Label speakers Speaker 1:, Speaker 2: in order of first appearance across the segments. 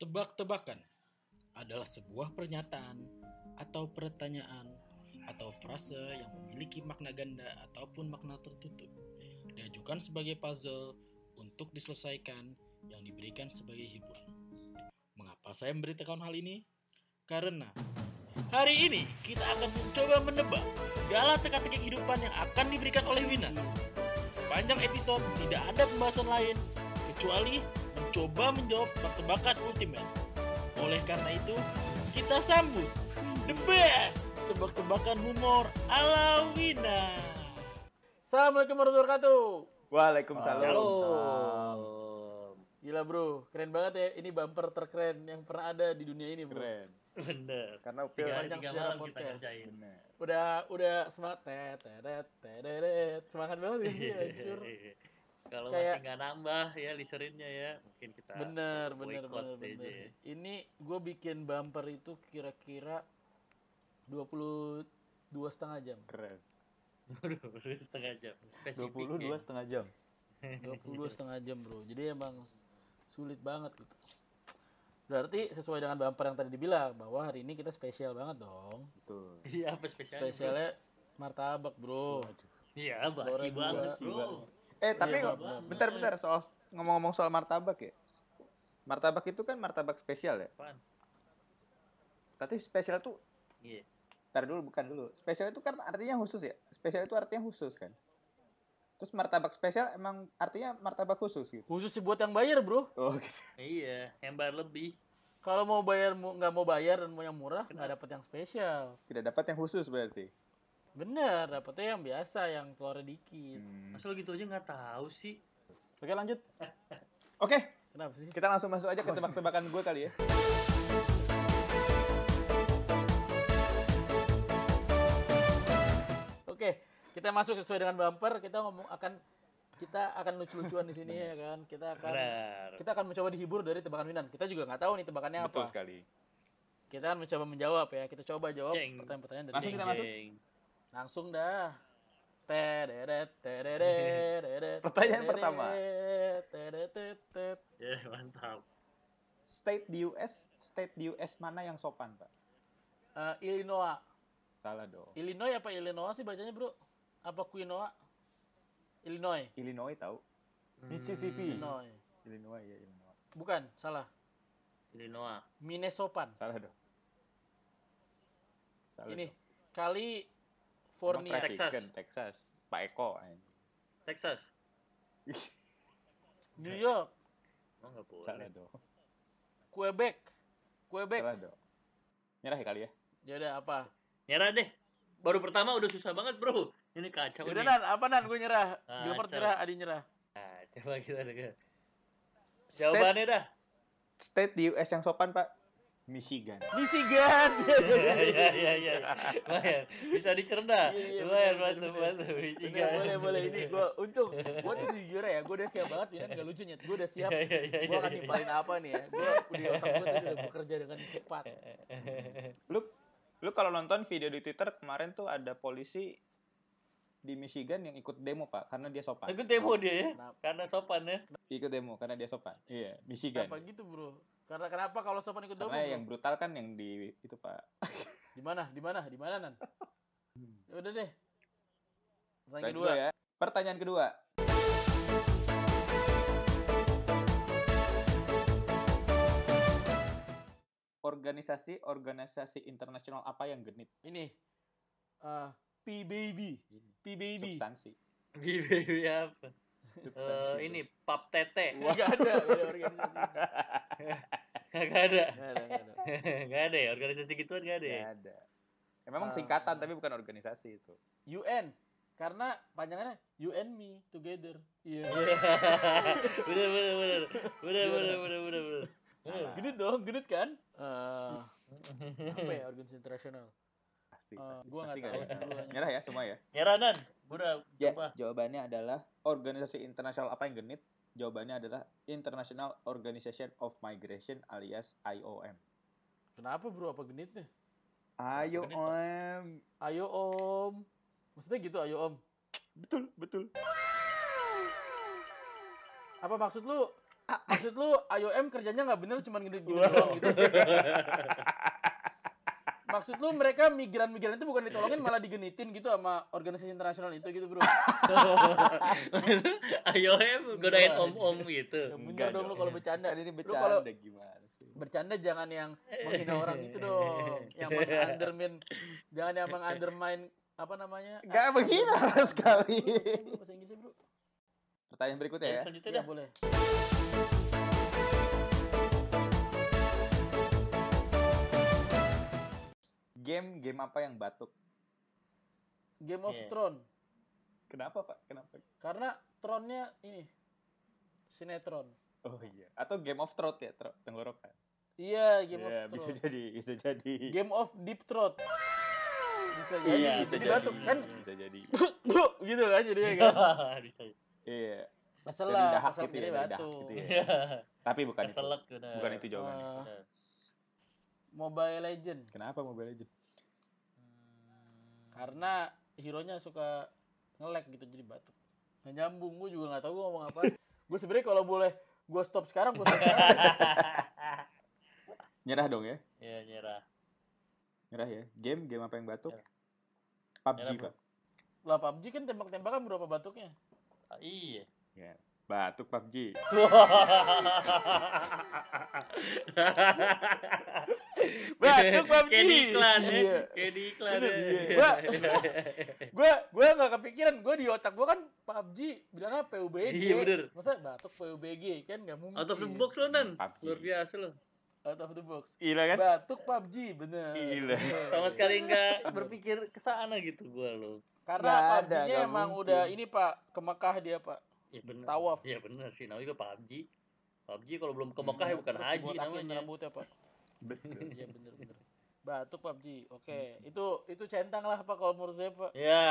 Speaker 1: Tebak-tebakan adalah sebuah pernyataan atau pertanyaan atau frase yang memiliki makna ganda ataupun makna tertutup diajukan sebagai puzzle untuk diselesaikan yang diberikan sebagai hiburan. Mengapa saya memberitakan hal ini? Karena hari ini kita akan mencoba menebak segala teka-teki kehidupan yang akan diberikan oleh Wina. Sepanjang episode tidak ada pembahasan lain kecuali mencoba menjawab tebak-tebakan ultimate. Oleh karena itu, kita sambut the best tebak-tebakan humor ala Wina. Assalamualaikum warahmatullahi wabarakatuh.
Speaker 2: Waalaikumsalam.
Speaker 1: Gila bro, keren banget ya. Ini bumper terkeren yang pernah ada di dunia ini bro.
Speaker 2: Keren.
Speaker 3: Bener.
Speaker 2: Karena Upil
Speaker 3: Tiga,
Speaker 1: panjang
Speaker 3: tiga
Speaker 1: sejarah
Speaker 3: malam kita
Speaker 1: podcast.
Speaker 3: kerjain.
Speaker 2: bener.
Speaker 1: Udah udah Ya, semangat tet tet tet semangat banget ya sih hancur.
Speaker 3: Kalau
Speaker 1: Kayak-
Speaker 3: masih nggak nambah ya liserinnya ya, mungkin kita
Speaker 1: Bener bener
Speaker 3: boycott
Speaker 1: bener
Speaker 3: aja
Speaker 1: bener.
Speaker 3: ya.
Speaker 1: Ini gue bikin bumper itu kira-kira 22 setengah jam.
Speaker 2: Keren.
Speaker 3: Waduh, baru setengah jam. Spesifik ya.
Speaker 1: ya.
Speaker 2: 22 setengah jam.
Speaker 1: 22 setengah jam bro. Jadi emang s- sulit banget gitu. Berarti sesuai dengan bumper yang tadi dibilang bahwa hari ini kita spesial banget dong.
Speaker 2: Betul.
Speaker 3: ya. Iya, apa spesialnya?
Speaker 1: Spesialnya martabak bro.
Speaker 3: Iya, basi banget, Bro.
Speaker 2: Eh, tapi
Speaker 1: Iya,
Speaker 2: bentar-bentar soal ngomong-ngomong soal martabak ya. Martabak itu kan martabak spesial ya.
Speaker 3: Apaan?
Speaker 2: Tapi spesial tuh
Speaker 3: Iya.
Speaker 2: Ntar dulu, bukan dulu. Spesial itu kan artinya khusus ya? Spesial itu artinya khusus kan? Terus martabak spesial emang artinya martabak khusus gitu?
Speaker 1: Khusus sih buat yang bayar bro.
Speaker 2: Oh gitu.
Speaker 3: Iya, hembar lebih.
Speaker 1: Kalau mau bayar mu- nggak mau bayar dan mau yang murah nggak dapat yang spesial.
Speaker 2: Tidak dapat yang khusus berarti?
Speaker 1: Bener, dapetnya yang biasa, yang telurnya dikit.
Speaker 2: Hmm.
Speaker 3: Masa lo gitu aja nggak tahu sih?
Speaker 1: Oke lanjut.
Speaker 2: Oke,
Speaker 1: Kenapa sih?
Speaker 2: kita langsung
Speaker 1: Oh,
Speaker 2: masuk
Speaker 1: iya.
Speaker 2: aja ke tebak-tebakan gue kali ya.
Speaker 1: Oke, kita masuk sesuai dengan bumper. Kita ngomong akan kita akan lucu-lucuan di sini ya kan. Kita akan
Speaker 3: Benar.
Speaker 1: kita akan mencoba dihibur dari tebakan Winan. Kita juga nggak tahu nih tebakannya
Speaker 2: Betul
Speaker 1: apa.
Speaker 2: sekali.
Speaker 1: Kita akan mencoba menjawab ya. Kita coba jawab
Speaker 3: Ceng.
Speaker 1: pertanyaan-pertanyaan dari
Speaker 2: Langsung
Speaker 1: Winan.
Speaker 2: kita masuk.
Speaker 3: Jeng.
Speaker 1: Langsung dah. Tederet, tederet, tederet,
Speaker 2: Pertanyaan pertama.
Speaker 1: tederet, tederet, tederet.
Speaker 3: Ya, mantap.
Speaker 2: State di US, state di US mana yang sopan, Pak?
Speaker 1: Eh, Illinois.
Speaker 2: Salah dong.
Speaker 1: Illinois apa Illinois sih bacanya bro? Apa Quinoa? Illinois.
Speaker 2: Illinois tahu?
Speaker 3: Hmm,
Speaker 4: Mississippi.
Speaker 1: Illinois.
Speaker 2: Illinois ya Illinois.
Speaker 1: Bukan, salah.
Speaker 3: Illinois.
Speaker 1: Minnesopan.
Speaker 2: Salah dong. Salah.
Speaker 1: Ini
Speaker 2: dong.
Speaker 1: kali
Speaker 2: Emang fried
Speaker 1: California.
Speaker 3: Texas.
Speaker 2: chicken, Texas. Pak Eko. eh. anjing.
Speaker 3: Texas.
Speaker 1: New York,
Speaker 3: Oh, nggak boleh.
Speaker 2: Salah dong.
Speaker 1: Quebec. Quebec.
Speaker 2: Salah dong. Nyerah ya kali ya.
Speaker 1: Ya udah apa?
Speaker 3: Nyerah deh. Baru pertama udah susah banget, Bro. Ini kacau
Speaker 1: Udah
Speaker 3: nih.
Speaker 1: nan, apa nan gue nyerah.
Speaker 3: Ah,
Speaker 1: Gilbert
Speaker 3: Cal.
Speaker 1: nyerah, Adi nyerah.
Speaker 3: Nah, coba kita dengar. Jawabannya dah.
Speaker 2: State di US yang sopan, Pak? Michigan.
Speaker 1: Michigan.
Speaker 3: Iya, iya, iya. Lumayan. Bisa dicerna.
Speaker 1: Iya, iya,
Speaker 3: Lumayan,
Speaker 1: bener,
Speaker 3: bantu,
Speaker 1: bener,
Speaker 3: bantu.
Speaker 1: Bener, boleh boleh ini
Speaker 3: Iya,
Speaker 1: gue untung gue tuh jujur ya gue udah siap banget Winan gak lucu nyet gue udah siap
Speaker 3: Iya, iya, iya,
Speaker 1: gue akan
Speaker 3: iya, iya.
Speaker 1: nimpalin apa nih ya gue udah otak gue tuh udah bekerja dengan cepat
Speaker 2: Lu lu kalau nonton video di Twitter kemarin tuh ada polisi di Michigan yang ikut demo, Pak, karena dia sopan.
Speaker 3: Aku demo dia ya,
Speaker 1: Kenapa?
Speaker 3: karena sopan ya.
Speaker 2: Ikut demo karena dia sopan. Iya, Michigan.
Speaker 1: kenapa gitu bro karena kenapa kalau sopan ikut demo
Speaker 2: Karena yang
Speaker 1: bro?
Speaker 2: brutal kan yang di itu, Pak.
Speaker 1: di mana di mana di mana nan Ya udah deh pertanyaan kedua
Speaker 2: Pertanyaan kedua Hmm. ya. Pertanyaan kedua. Organisasi-organisasi internasional apa yang genit
Speaker 1: ini eh P baby P baby
Speaker 2: substansi?
Speaker 3: Bibi apa? Eh,
Speaker 2: Substansi.
Speaker 3: ini pap tete.
Speaker 1: nggak ada nggak ada organisasi nggak
Speaker 3: Gak ada.
Speaker 1: ada nggak ada
Speaker 3: Gak ada ya, organisasi gituan gak ada ya.
Speaker 2: Nggak ada. Ya, memang
Speaker 1: Ah.
Speaker 2: singkatan tapi bukan organisasi itu.
Speaker 1: UN karena panjangannya you and me together iya
Speaker 3: Bener, bener, bener. Bener, bener, bener, bener, bener.
Speaker 2: Salah.
Speaker 1: Genit dong, genit kan? Eh, apa ya organisasi internasional?
Speaker 2: Pasti.
Speaker 1: Eh,
Speaker 2: pasti,
Speaker 1: gua
Speaker 2: pasti
Speaker 1: nggak tahu
Speaker 2: nggak ada.
Speaker 1: sih duluan.
Speaker 2: Nyerah ya semua ya.
Speaker 3: Nyerah, Nan. Udah,
Speaker 2: Ya,
Speaker 3: coba.
Speaker 2: jawabannya adalah organisasi internasional apa yang genit? Jawabannya adalah International Organization of Migration alias IOM.
Speaker 1: Kenapa bro, apa genitnya?
Speaker 2: Nah, IOM.
Speaker 1: Ayo om. Maksudnya gitu, ayo om.
Speaker 2: Betul, betul.
Speaker 1: Apa maksud lu?
Speaker 4: Maksud lu IOM kerjanya nggak bener cuman gini gini doang gitu.
Speaker 3: Oh.
Speaker 4: Maksud lu mereka migran-migran itu bukan ditolongin malah digenitin gitu sama organisasi internasional itu gitu, Bro.
Speaker 3: Ayo em
Speaker 4: Iya.
Speaker 3: godain om-om gitu.
Speaker 4: Ya bener dong lu kalau bercanda.
Speaker 2: Kan ini
Speaker 4: Lu kalau
Speaker 2: bercanda gimana sih?
Speaker 4: bercanda jangan yang menghina orang gitu dong. Yang meng-undermine jangan yang meng-undermine apa namanya?
Speaker 2: Nggak
Speaker 4: Ah,
Speaker 2: menghina
Speaker 4: apa-
Speaker 2: sama sekali.
Speaker 4: Bahasa Inggrisnya, Bro.
Speaker 2: Pertanyaan berikutnya
Speaker 3: Ya,
Speaker 2: ya.
Speaker 3: selanjutnya
Speaker 4: Ya
Speaker 3: dah.
Speaker 4: boleh.
Speaker 2: Game game apa yang batuk?
Speaker 4: Game of
Speaker 3: Iya.
Speaker 4: Thrones.
Speaker 2: Kenapa Pak? Kenapa?
Speaker 4: Karena tronnya ini sinetron.
Speaker 2: Oh iya. Atau Game of Thrones ya, tro- tenggorokan.
Speaker 4: Iya, Game
Speaker 2: Iya,
Speaker 4: of
Speaker 2: bisa
Speaker 4: Thrones.
Speaker 2: jadi, bisa jadi.
Speaker 4: Game of Deep Throat. Bisa jadi,
Speaker 3: Iya,
Speaker 4: jadi
Speaker 3: bisa
Speaker 4: batuk kan.
Speaker 2: Bisa jadi.
Speaker 4: gitu kan jadinya kan.
Speaker 3: Bisa.
Speaker 2: Iya.
Speaker 4: Kesel
Speaker 2: Dari
Speaker 4: lah,
Speaker 2: dahak
Speaker 4: kesel
Speaker 2: gitu ya,
Speaker 4: jadi
Speaker 2: dari dahak
Speaker 4: batuk.
Speaker 2: gitu ya. Tapi bukan itu.
Speaker 3: Keselak udah.
Speaker 2: Bukan itu jawabannya.
Speaker 4: Eh,
Speaker 3: Udah.
Speaker 4: Mobile Legend. Hmm,
Speaker 2: Kenapa Mobile Legends?
Speaker 4: Karena hero-nya suka nge-lag gitu jadi batuk. Nggak nyambung, gue juga nggak tahu gue ngomong apa. gue sebenarnya kalau boleh gue stop sekarang, gue stop sekarang.
Speaker 2: Nyerah dong ya.
Speaker 3: Ya nyerah.
Speaker 2: Nyerah ya. Game game apa yang batuk?
Speaker 3: Nyerah.
Speaker 2: PUBG,
Speaker 3: Nyerah, bro.
Speaker 2: Pak.
Speaker 4: lah PUBG kan tembak-tembakan berapa batuknya?
Speaker 3: Ah, iya.
Speaker 2: Batuk PUBG.
Speaker 4: Batuk PUBG.
Speaker 3: Kayak di iklan
Speaker 2: Iya.
Speaker 3: ya. Kayak di iklan ya.
Speaker 4: Bener, iya. Gua-
Speaker 3: Eh.
Speaker 4: gue gue nggak kepikiran gue di otak gue kan PUBG bilangnya PUBG
Speaker 3: Iya, bener.
Speaker 4: masa batuk PUBG kan nggak mungkin
Speaker 3: Out of the box lo Nan.
Speaker 2: PUBG.
Speaker 3: Luar biasa lo.
Speaker 4: out of the box
Speaker 2: Gila kan?
Speaker 4: batuk PUBG bener
Speaker 2: Gila.
Speaker 4: Bener.
Speaker 3: Sama
Speaker 4: Iya.
Speaker 3: sekali nggak berpikir ke sana gitu gua lo.
Speaker 4: karena
Speaker 2: Nggak ada,
Speaker 4: PUBG-nya
Speaker 2: nggak
Speaker 4: emang
Speaker 2: mungkin.
Speaker 4: udah ini pak ke Mekah dia pak
Speaker 3: Ya benar.
Speaker 4: Tawaf.
Speaker 3: Ya benar sih namanya juga PUBG. PUBG kalau belum ke Mekah ya bukan
Speaker 4: Iya, Terus
Speaker 3: haji
Speaker 4: dibotakin
Speaker 3: namanya.
Speaker 4: rambutnya ya, pak
Speaker 2: Betul.
Speaker 4: iya bener bener batuk PUBG oke itu itu centang lah pak kalau menurut saya pak
Speaker 3: Ya,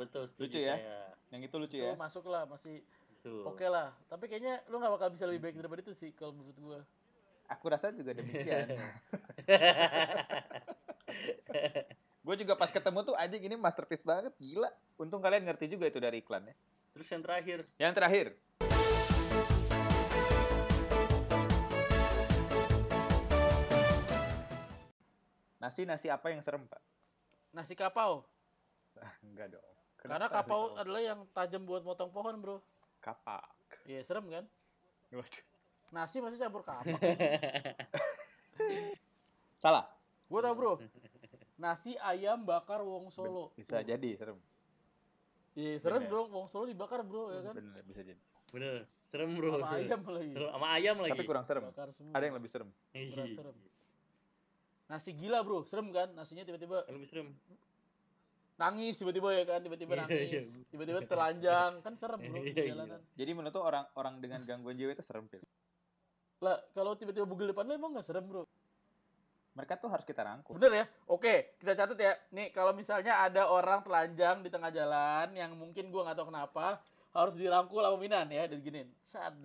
Speaker 3: betul setuju
Speaker 2: Lucu ya?
Speaker 3: saya.
Speaker 2: Yang itu lucu
Speaker 4: itu
Speaker 2: ya.
Speaker 4: masuk lah masih
Speaker 3: Betul.
Speaker 4: oke lah tapi kayaknya lu nggak bakal bisa lebih baik daripada itu sih kalau menurut gue
Speaker 2: Aku rasa juga demikian. Gue juga pas ketemu tuh anjing ini masterpiece banget, gila. Untung kalian ngerti juga itu dari iklannya.
Speaker 3: Terus yang terakhir,
Speaker 2: Yang terakhir, nasi nasi apa yang serem pak?
Speaker 4: nasi kapau
Speaker 2: Enggak dong.
Speaker 4: Karena
Speaker 2: Kenapa
Speaker 4: kapau
Speaker 2: nasi
Speaker 4: adalah yang tajam buat motong pohon, bro.
Speaker 2: kapak.
Speaker 4: Iya, serem kan?
Speaker 2: Waduh.
Speaker 4: Nasi pasti campur kapak.
Speaker 2: Salah.
Speaker 4: Gue tau, bro. Nasi ayam bakar wong solo.
Speaker 2: Bisa jadi serem.
Speaker 4: Iya, serem
Speaker 2: Bener.
Speaker 4: dong. Wong solo dibakar, bro, ya kan?
Speaker 2: Bener bisa jadi.
Speaker 3: bener. Serem bro.
Speaker 4: Sama ayam lagi.
Speaker 3: Serem, Sama ayam lagi. Iya.
Speaker 2: Tapi kurang serem.
Speaker 4: Bakar semua.
Speaker 2: Ada yang lebih serem.
Speaker 3: Ih,
Speaker 4: kurang serem. Nasi gila, bro. Serem kan? Nasinya tiba-tiba
Speaker 3: Lebih serem.
Speaker 4: nangis, tiba-tiba ya kan? Tiba-tiba
Speaker 3: Iya, iya.
Speaker 4: nangis. Tiba-tiba telanjang. Kan serem, bro,
Speaker 3: Iya,
Speaker 4: di
Speaker 3: iya.
Speaker 4: jalanan.
Speaker 2: Jadi menurut tuh orang orang dengan gangguan jiwa itu serem. Pil.
Speaker 4: Lah, kalau tiba-tiba bugil depan lo emang gak serem, bro?
Speaker 2: Mereka tuh harus kita rangkul.
Speaker 4: Bener ya? Oke, kita catat ya. Nih, kalau misalnya ada orang telanjang di tengah jalan yang mungkin gua nggak tahu kenapa harus dirangkul sama Minan ya dan giniin. Saat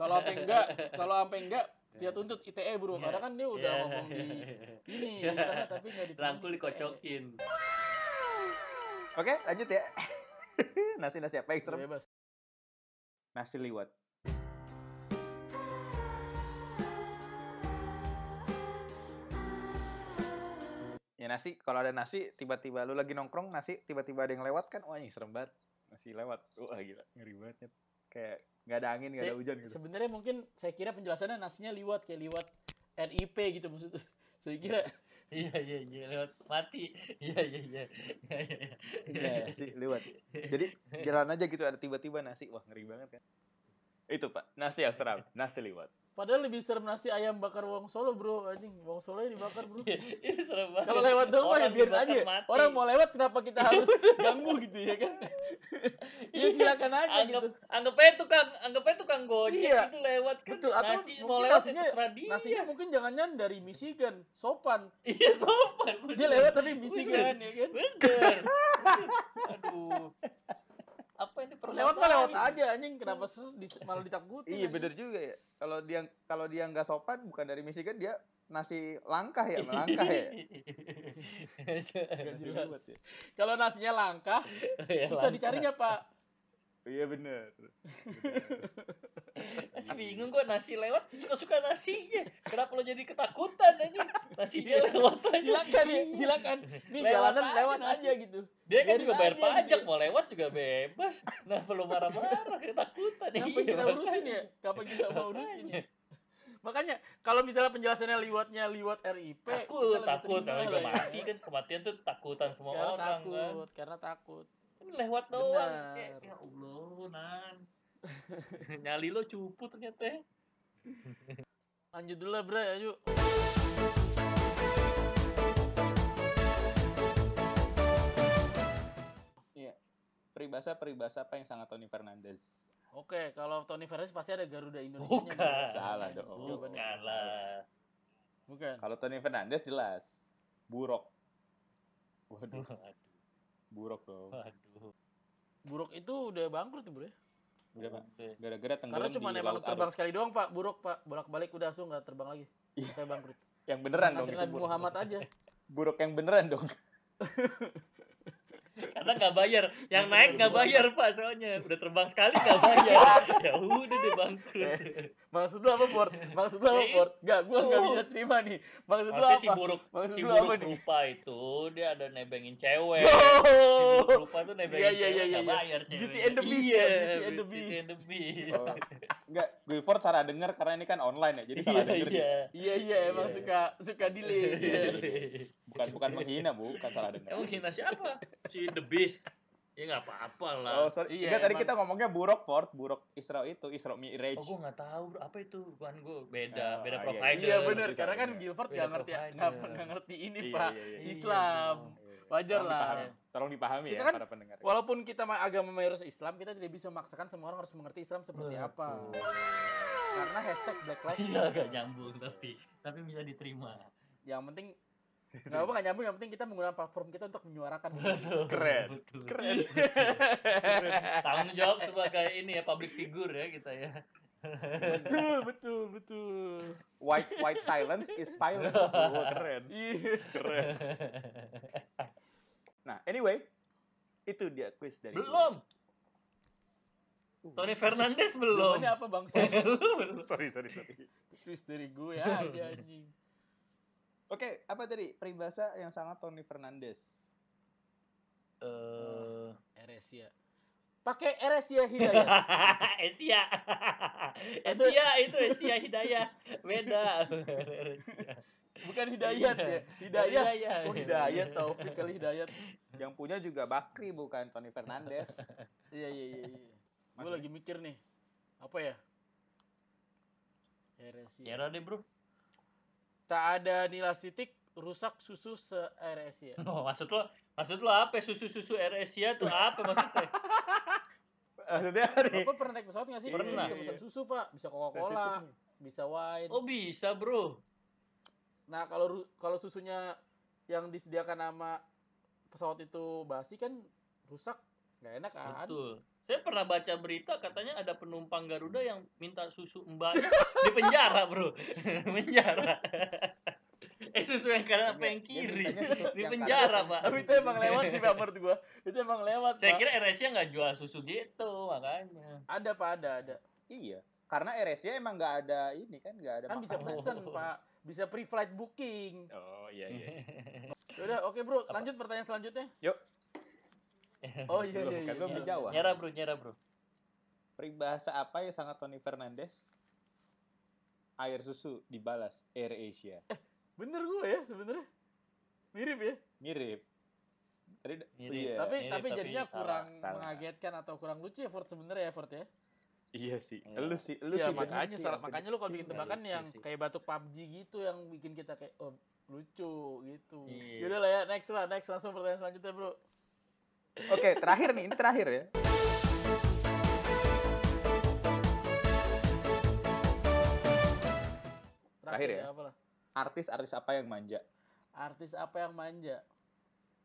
Speaker 4: Kalau apa enggak, kalau apa enggak dia tuntut ITE bro, karena kan dia udah
Speaker 3: Iya.
Speaker 4: ngomong di Eh. ini di internet tapi nggak di E.
Speaker 3: Rangkul dikocokin.
Speaker 2: Oke, lanjut ya. nasi nasi apa yang serem?
Speaker 4: Iya, Bebas.
Speaker 2: Nasi liwet. Ya nasi, kalau ada nasi, tiba-tiba lu lagi nongkrong nasi, tiba-tiba ada yang lewat kan, wah ini serem banget. Nasi lewat, wah gila, ngeri banget. Nyet. Kayak nggak ada angin, nggak ada
Speaker 4: Se-
Speaker 2: hujan gitu.
Speaker 4: Sebenarnya mungkin saya kira penjelasannya nasinya liwat kayak liwat NIP gitu maksudnya. Saya kira
Speaker 3: Iya iya iya lewat mati. Iya iya iya. Iya, iya.
Speaker 2: Iya, nasi liwet. Jadi jalan aja gitu, ada tiba-tiba nasi, wah ngeri banget kan. Itu pak, nasi yang seram, nasi liwet.
Speaker 4: padahal lebih serem nasi ayam bakar wong solo bro anjing wong solo yang dibakar bro
Speaker 3: Itu serem banget.
Speaker 4: Kalau lewat doang mah ya
Speaker 3: Orang
Speaker 4: biarin
Speaker 3: dibakar
Speaker 4: aja.
Speaker 3: mati.
Speaker 4: Orang mau lewat kenapa kita harus ganggu gitu ya kan? ya silakan aja
Speaker 3: anggap iya.
Speaker 4: gitu.
Speaker 3: anggap aja tukang anggap aja tukang gojek
Speaker 4: Iya.
Speaker 3: itu lewat kan
Speaker 4: Betul, atau
Speaker 3: nasi mau
Speaker 4: mungkin
Speaker 3: lewat ya
Speaker 4: nasinya-
Speaker 3: terserah dia
Speaker 4: Nasinya mungkin jangan-jangan dari Michigan, sopan.
Speaker 3: iya sopan bener.
Speaker 4: Dia lewat tapi Michigan ya kan?
Speaker 3: bener aduh apa ini
Speaker 4: Lewat mah lewat
Speaker 3: gitu.
Speaker 4: aja anjing, kenapa seru dis- malah ditakutin.
Speaker 2: Iya
Speaker 4: anjing.
Speaker 2: bener juga ya. Kalau dia kalau dia nggak sopan bukan dari Michigan dia nasi langkah ya melangkah ya.
Speaker 3: Iya,
Speaker 4: Nggak jelas. Kalau nasinya langka, susah dicarinya, Pak.
Speaker 2: Iya bener. Bener.
Speaker 3: Masih bingung kok nasi lewat suka-suka nasinya. Kenapa lo jadi ketakutan aja? Nasinya lewat aja.
Speaker 4: silakan ya silakan nih
Speaker 3: Lewat
Speaker 4: jalanan
Speaker 3: aja,
Speaker 4: lewat
Speaker 3: nasi.
Speaker 4: aja gitu
Speaker 3: Dia kan
Speaker 4: Biarin
Speaker 3: juga bayar
Speaker 4: aja gitu
Speaker 3: pajak
Speaker 4: ya.
Speaker 3: mau lewat juga bebas. Nah, perlu marah-marah ketakutan.
Speaker 4: kapan
Speaker 3: Iya,
Speaker 4: kita
Speaker 3: makanya.
Speaker 4: urusin ya kapan kita mau urusin ya
Speaker 3: Makanya.
Speaker 4: makanya kalau misalnya penjelasannya liwatnya liwat RIP
Speaker 3: Takut,
Speaker 4: kita lebih
Speaker 3: takut.
Speaker 4: terima
Speaker 3: Namanya
Speaker 4: lah
Speaker 3: juga
Speaker 4: ya.
Speaker 3: mati kan kematian tuh takutan semua
Speaker 4: karena
Speaker 3: orang kan.
Speaker 4: takut karena takut
Speaker 3: Ini lewat doang. Cek.
Speaker 4: Benar.
Speaker 3: Ya Allah, lu, Nan. Nyali lo cupu ternyata ya.
Speaker 4: Oh, lanjut dulu lah ya, bro ayo
Speaker 2: Peribahasa peribahasa apa yang sangat Tony Fernandez?
Speaker 4: oke kalau Tony Fernandes pasti ada Garuda Indonesia
Speaker 3: Bukan.
Speaker 2: Salah dong.
Speaker 4: Bukan.
Speaker 3: Bukan lah.
Speaker 4: bukan
Speaker 2: Kalau Tony Fernandez jelas. Buruk. Waduh,
Speaker 3: Waduh,
Speaker 2: buruk dong.
Speaker 3: waduh.
Speaker 4: buruk itu udah bangkrut ya, bro ya?
Speaker 2: Udah, Pak. Gara-gara tenggelam
Speaker 4: karena cuma
Speaker 2: di
Speaker 4: emang
Speaker 2: Laut
Speaker 4: terbang
Speaker 2: Aruk.
Speaker 4: sekali doang pak buruk pak bolak balik udah langsung nggak terbang lagi
Speaker 2: Iya.
Speaker 4: kayak bangkrut
Speaker 2: Yang beneran dong
Speaker 4: Nanti
Speaker 2: itu
Speaker 4: Nabi
Speaker 2: buruk.
Speaker 4: Muhammad aja
Speaker 2: Buruk yang beneran dong.
Speaker 3: Karena nggak bayar, yang naik nggak bayar pak soalnya udah terbang sekali nggak bayar, ya udah deh bangkrut.
Speaker 4: maksud lu apa Ford maksud lu apa
Speaker 3: Eh,
Speaker 4: Ford nggak gua nggak
Speaker 3: itu.
Speaker 4: bisa terima nih maksud lu
Speaker 3: Maksudnya si
Speaker 4: apa
Speaker 3: buruk,
Speaker 4: Maksud
Speaker 3: si
Speaker 4: lu apa
Speaker 3: buruk
Speaker 4: nih?
Speaker 3: rupa itu dia ada nebengin cewek. Si
Speaker 4: Oh.
Speaker 3: buruk rupa tuh nebengin
Speaker 4: Iya, iya,
Speaker 3: cewek
Speaker 4: iya,
Speaker 3: nggak
Speaker 4: iya.
Speaker 3: bayar cewek.
Speaker 4: Beauty and the Beast ya,
Speaker 3: iya,
Speaker 4: Beauty and the
Speaker 3: Beauty and the Beast.
Speaker 2: Oh. Enggak, Guilford salah denger karena ini kan online ya. Jadi salah
Speaker 3: iya,
Speaker 2: denger dia.
Speaker 3: iya.
Speaker 4: iya iya emang
Speaker 3: Iya.
Speaker 4: suka suka delay
Speaker 3: Iya,
Speaker 4: Iya.
Speaker 3: iya.
Speaker 2: Bukan bukan menghina, Bu, bukan salah denger.
Speaker 3: Emang hina siapa? Si The Beast. Ya nggak apa-apa lah.
Speaker 2: Oh, sorry.
Speaker 4: Iya,
Speaker 2: Enggak, tadi
Speaker 4: emang.
Speaker 2: kita ngomongnya buruk Ford, buruk Isra itu, Isra Mi'raj.
Speaker 3: Oh, gue nggak tahu bro. Apa itu? Bukan gue.
Speaker 2: Oh,
Speaker 3: Beda, beda
Speaker 2: iya, iya.
Speaker 3: provider.
Speaker 4: iya benar
Speaker 2: Bisa,
Speaker 4: karena kan
Speaker 2: iya.
Speaker 4: Gilford
Speaker 3: Beda
Speaker 4: nggak ngerti
Speaker 3: provider.
Speaker 4: nggak nggak ngerti ini
Speaker 2: Iya,
Speaker 4: pak
Speaker 2: iya, iya.
Speaker 3: Iya,
Speaker 4: Islam wajar
Speaker 2: Tolong
Speaker 4: lah
Speaker 2: dipahami. Tolong dipahami
Speaker 4: Kita
Speaker 2: ya
Speaker 4: kan-
Speaker 2: para pendengar.
Speaker 4: walaupun kita ma- agama mayoritas Islam kita tidak bisa memaksakan semua orang harus mengerti Islam seperti apa karena hashtag Black Lives
Speaker 3: Iya
Speaker 4: Matter.
Speaker 3: agak nyambung tapi tapi bisa diterima.
Speaker 4: yang penting nggak apa nggak nyambung yang penting kita menggunakan platform kita untuk menyuarakan
Speaker 2: Keren.
Speaker 3: Betul.
Speaker 2: Keren.
Speaker 3: Tanggung jawab sebagai ini ya public figure ya kita ya.
Speaker 4: betul betul betul
Speaker 2: White white silence is violence. Oh, keren.
Speaker 4: iya
Speaker 2: Keren. Nah, anyway, itu dia quiz dari
Speaker 3: Belum. Tony Fernandes belum.
Speaker 4: Jawabannya apa bang Saya
Speaker 3: Belum.
Speaker 2: Sorry, sorry, sorry.
Speaker 4: twist dari gue aja anjing
Speaker 2: Oke, apa tadi peribahasa yang sangat Tony Fernandez?
Speaker 3: Eh,
Speaker 4: Eresia pakai Eresia Hidayat
Speaker 3: Asia. Asia itu Asia Hidayah. Beda.
Speaker 4: bukan Hidayat
Speaker 3: Iya.
Speaker 4: ya Hidayat
Speaker 3: Hidayah.
Speaker 4: oh
Speaker 2: Iya.
Speaker 4: Hidayat Taufik kali Hidayat
Speaker 2: Yang punya juga Bakri bukan Tony Fernandez.
Speaker 4: iya iya iya iya gue
Speaker 2: Maksudnya?
Speaker 4: lagi mikir nih apa ya Eresia
Speaker 3: Ya udah deh, Bro.
Speaker 4: tak ada nilai titik rusak susu se Eresia
Speaker 3: Oh, maksud lo, maksud lo apa? Susu-susu Air Asia tuh apa maksudnya?
Speaker 2: Maksudnya nih.
Speaker 4: Bapak pernah naik pesawat nggak sih?
Speaker 3: Pernah.
Speaker 4: Bisa pesan susu pak, bisa
Speaker 2: sensitif
Speaker 4: Coca-Cola,
Speaker 2: nih.
Speaker 4: bisa wine.
Speaker 3: Oh bisa bro.
Speaker 4: Nah kalau ru- kalau susunya yang disediakan nama pesawat itu basi kan rusak nggak enak kan?
Speaker 3: Betul. Saya pernah baca berita katanya ada penumpang Garuda yang minta susu mbaknya di penjara bro. penjara. eh susu yang kanan apa yang
Speaker 2: Dia
Speaker 3: kiri?
Speaker 2: mintanya susu
Speaker 3: Di
Speaker 2: yang
Speaker 3: penjara
Speaker 2: kanan.
Speaker 3: pak.
Speaker 4: Tapi itu emang lewat sih pak menurut gua. Itu emang lewat
Speaker 3: Saya
Speaker 4: pak.
Speaker 3: kira Air Asia nggak jual susu gitu makanya.
Speaker 4: Ada pak ada ada.
Speaker 2: Iya, karena RSC emang nggak ada ini kan nggak ada.
Speaker 4: Kan bisa
Speaker 2: makanan.
Speaker 4: pesen
Speaker 3: Oh.
Speaker 4: pak. Bisa pre-flight booking.
Speaker 2: Oh iya iya.
Speaker 4: Udah oke bro lanjut pertanyaan selanjutnya.
Speaker 2: Yuk.
Speaker 4: Oh iya
Speaker 2: Belum,
Speaker 4: iya iya.
Speaker 2: kan belum
Speaker 4: iya.
Speaker 2: dijawab.
Speaker 3: Nyara bro, nyara bro.
Speaker 2: Peribahasa apa yang sangat Tony Fernandez? Air susu dibalas Air Asia.
Speaker 4: Bener gua ya sebenarnya. Mirip ya.
Speaker 2: Iya, Mirip. Tadi
Speaker 3: Mirip.
Speaker 2: iya.
Speaker 4: tapi
Speaker 3: mirip,
Speaker 4: tapi
Speaker 3: tapi
Speaker 4: jadinya
Speaker 3: salah,
Speaker 4: kurang
Speaker 2: salah.
Speaker 4: mengagetkan atau kurang lucu ya Ford sebenarnya ya Ford ya.
Speaker 2: Iya sih.
Speaker 3: Iya.
Speaker 2: Lu sih, lu
Speaker 4: Iya
Speaker 2: sih bener
Speaker 4: makanya
Speaker 2: sih, Iya,
Speaker 4: salah
Speaker 2: aku
Speaker 4: makanya lu kalau bikin
Speaker 2: dikit.
Speaker 3: tebak-
Speaker 4: tebakan
Speaker 3: lucu
Speaker 4: yang
Speaker 3: sih.
Speaker 4: kayak batuk PUBG gitu yang bikin kita kayak oh, lucu gitu.
Speaker 3: Iya.
Speaker 4: Yaudah lah ya next lah next langsung pertanyaan selanjutnya bro.
Speaker 2: Oke, terakhir nih, ini terakhir ya. Terakhir ya?
Speaker 4: apalah.
Speaker 2: Artis-artis apa yang manja?
Speaker 4: Artis apa yang manja?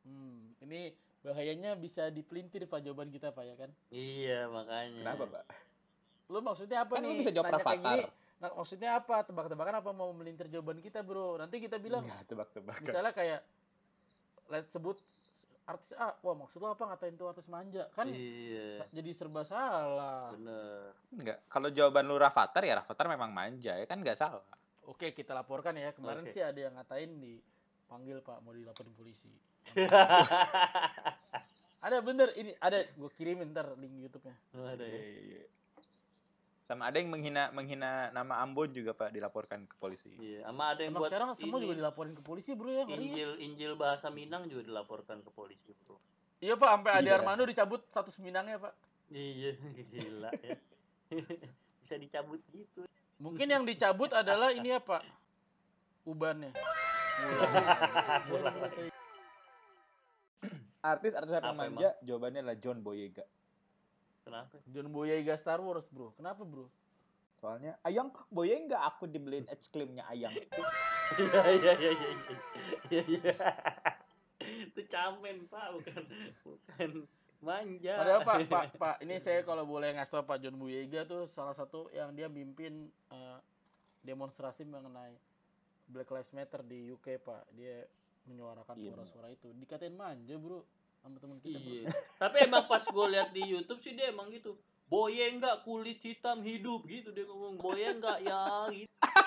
Speaker 4: Hmm ini bahayanya bisa dipelintir pak jawaban kita pak ya kan?
Speaker 3: Iya makanya.
Speaker 2: Kenapa, Pak?
Speaker 4: Lu maksudnya apa
Speaker 2: Kan lu
Speaker 4: nih?
Speaker 2: bisa jawab
Speaker 4: Nanya kayak
Speaker 2: Avatar.
Speaker 4: gini, Nah, maksudnya apa? Tebak-tebakan apa mau melintir jawaban kita bro? Nanti kita bilang
Speaker 2: Enggak, tebak-tebakan.
Speaker 4: misalnya kayak let's sebut artis A, wah maksud lo apa ngatain tuh artis manja? Kan
Speaker 3: iya
Speaker 4: sa- jadi serba salah.
Speaker 3: bener
Speaker 2: Enggak. Kalau jawaban lu Rafathar ya Rafathar memang manja ya kan nggak salah.
Speaker 4: Oke, kita laporkan ya. Kemarin
Speaker 3: Oke.
Speaker 4: sih ada yang ngatain di panggil Pak mau dilaporin polisi. ada bener ini ada gue kirimin ntar link YouTube-nya.
Speaker 3: ada ya
Speaker 2: Iya. Sama ada yang menghina menghina nama Ambon juga Pak dilaporkan ke polisi.
Speaker 3: iya sama ada yang
Speaker 4: Emang
Speaker 3: buat
Speaker 4: sekarang semua
Speaker 3: ini, Iya.
Speaker 4: juga dilaporin ke polisi, Bro ya. ngeri ya.
Speaker 3: Injil Injil bahasa Minang juga dilaporkan ke polisi bro
Speaker 4: Iya, Pak, sampai Ade
Speaker 2: Iya.
Speaker 4: Armando dicabut status Minangnya, Pak.
Speaker 3: iya gila ya bisa dicabut gitu
Speaker 4: Mungkin yang dicabut adalah ini ya, Pak. Ubannya.
Speaker 2: Artis artis apa
Speaker 3: Apa
Speaker 2: manja? Jawabannya adalah John Boyega.
Speaker 3: kenapa
Speaker 4: John Boyega Star Wars, Bro. Kenapa, Bro?
Speaker 2: Soalnya ayang Boyega aku dibeliin es krimnya ayang.
Speaker 3: iya iya iya iya iya iya itu camen pak bukan bukan manja
Speaker 4: Padahal Pak, Pak, Pak, ini saya kalau boleh ngasih tau Pak John Boyega tuh salah satu yang dia mimpin eh, demonstrasi mengenai Black Lives Matter di UK Pak. Dia menyuarakan
Speaker 2: Iya,
Speaker 4: suara-suara itu. Dikatain manja bro sama teman kita. Bro.
Speaker 3: iya tapi emang pas gue lihat di YouTube sih dia emang gitu boye nggak kulit hitam hidup gitu dia ngomong boye nggak ya gitu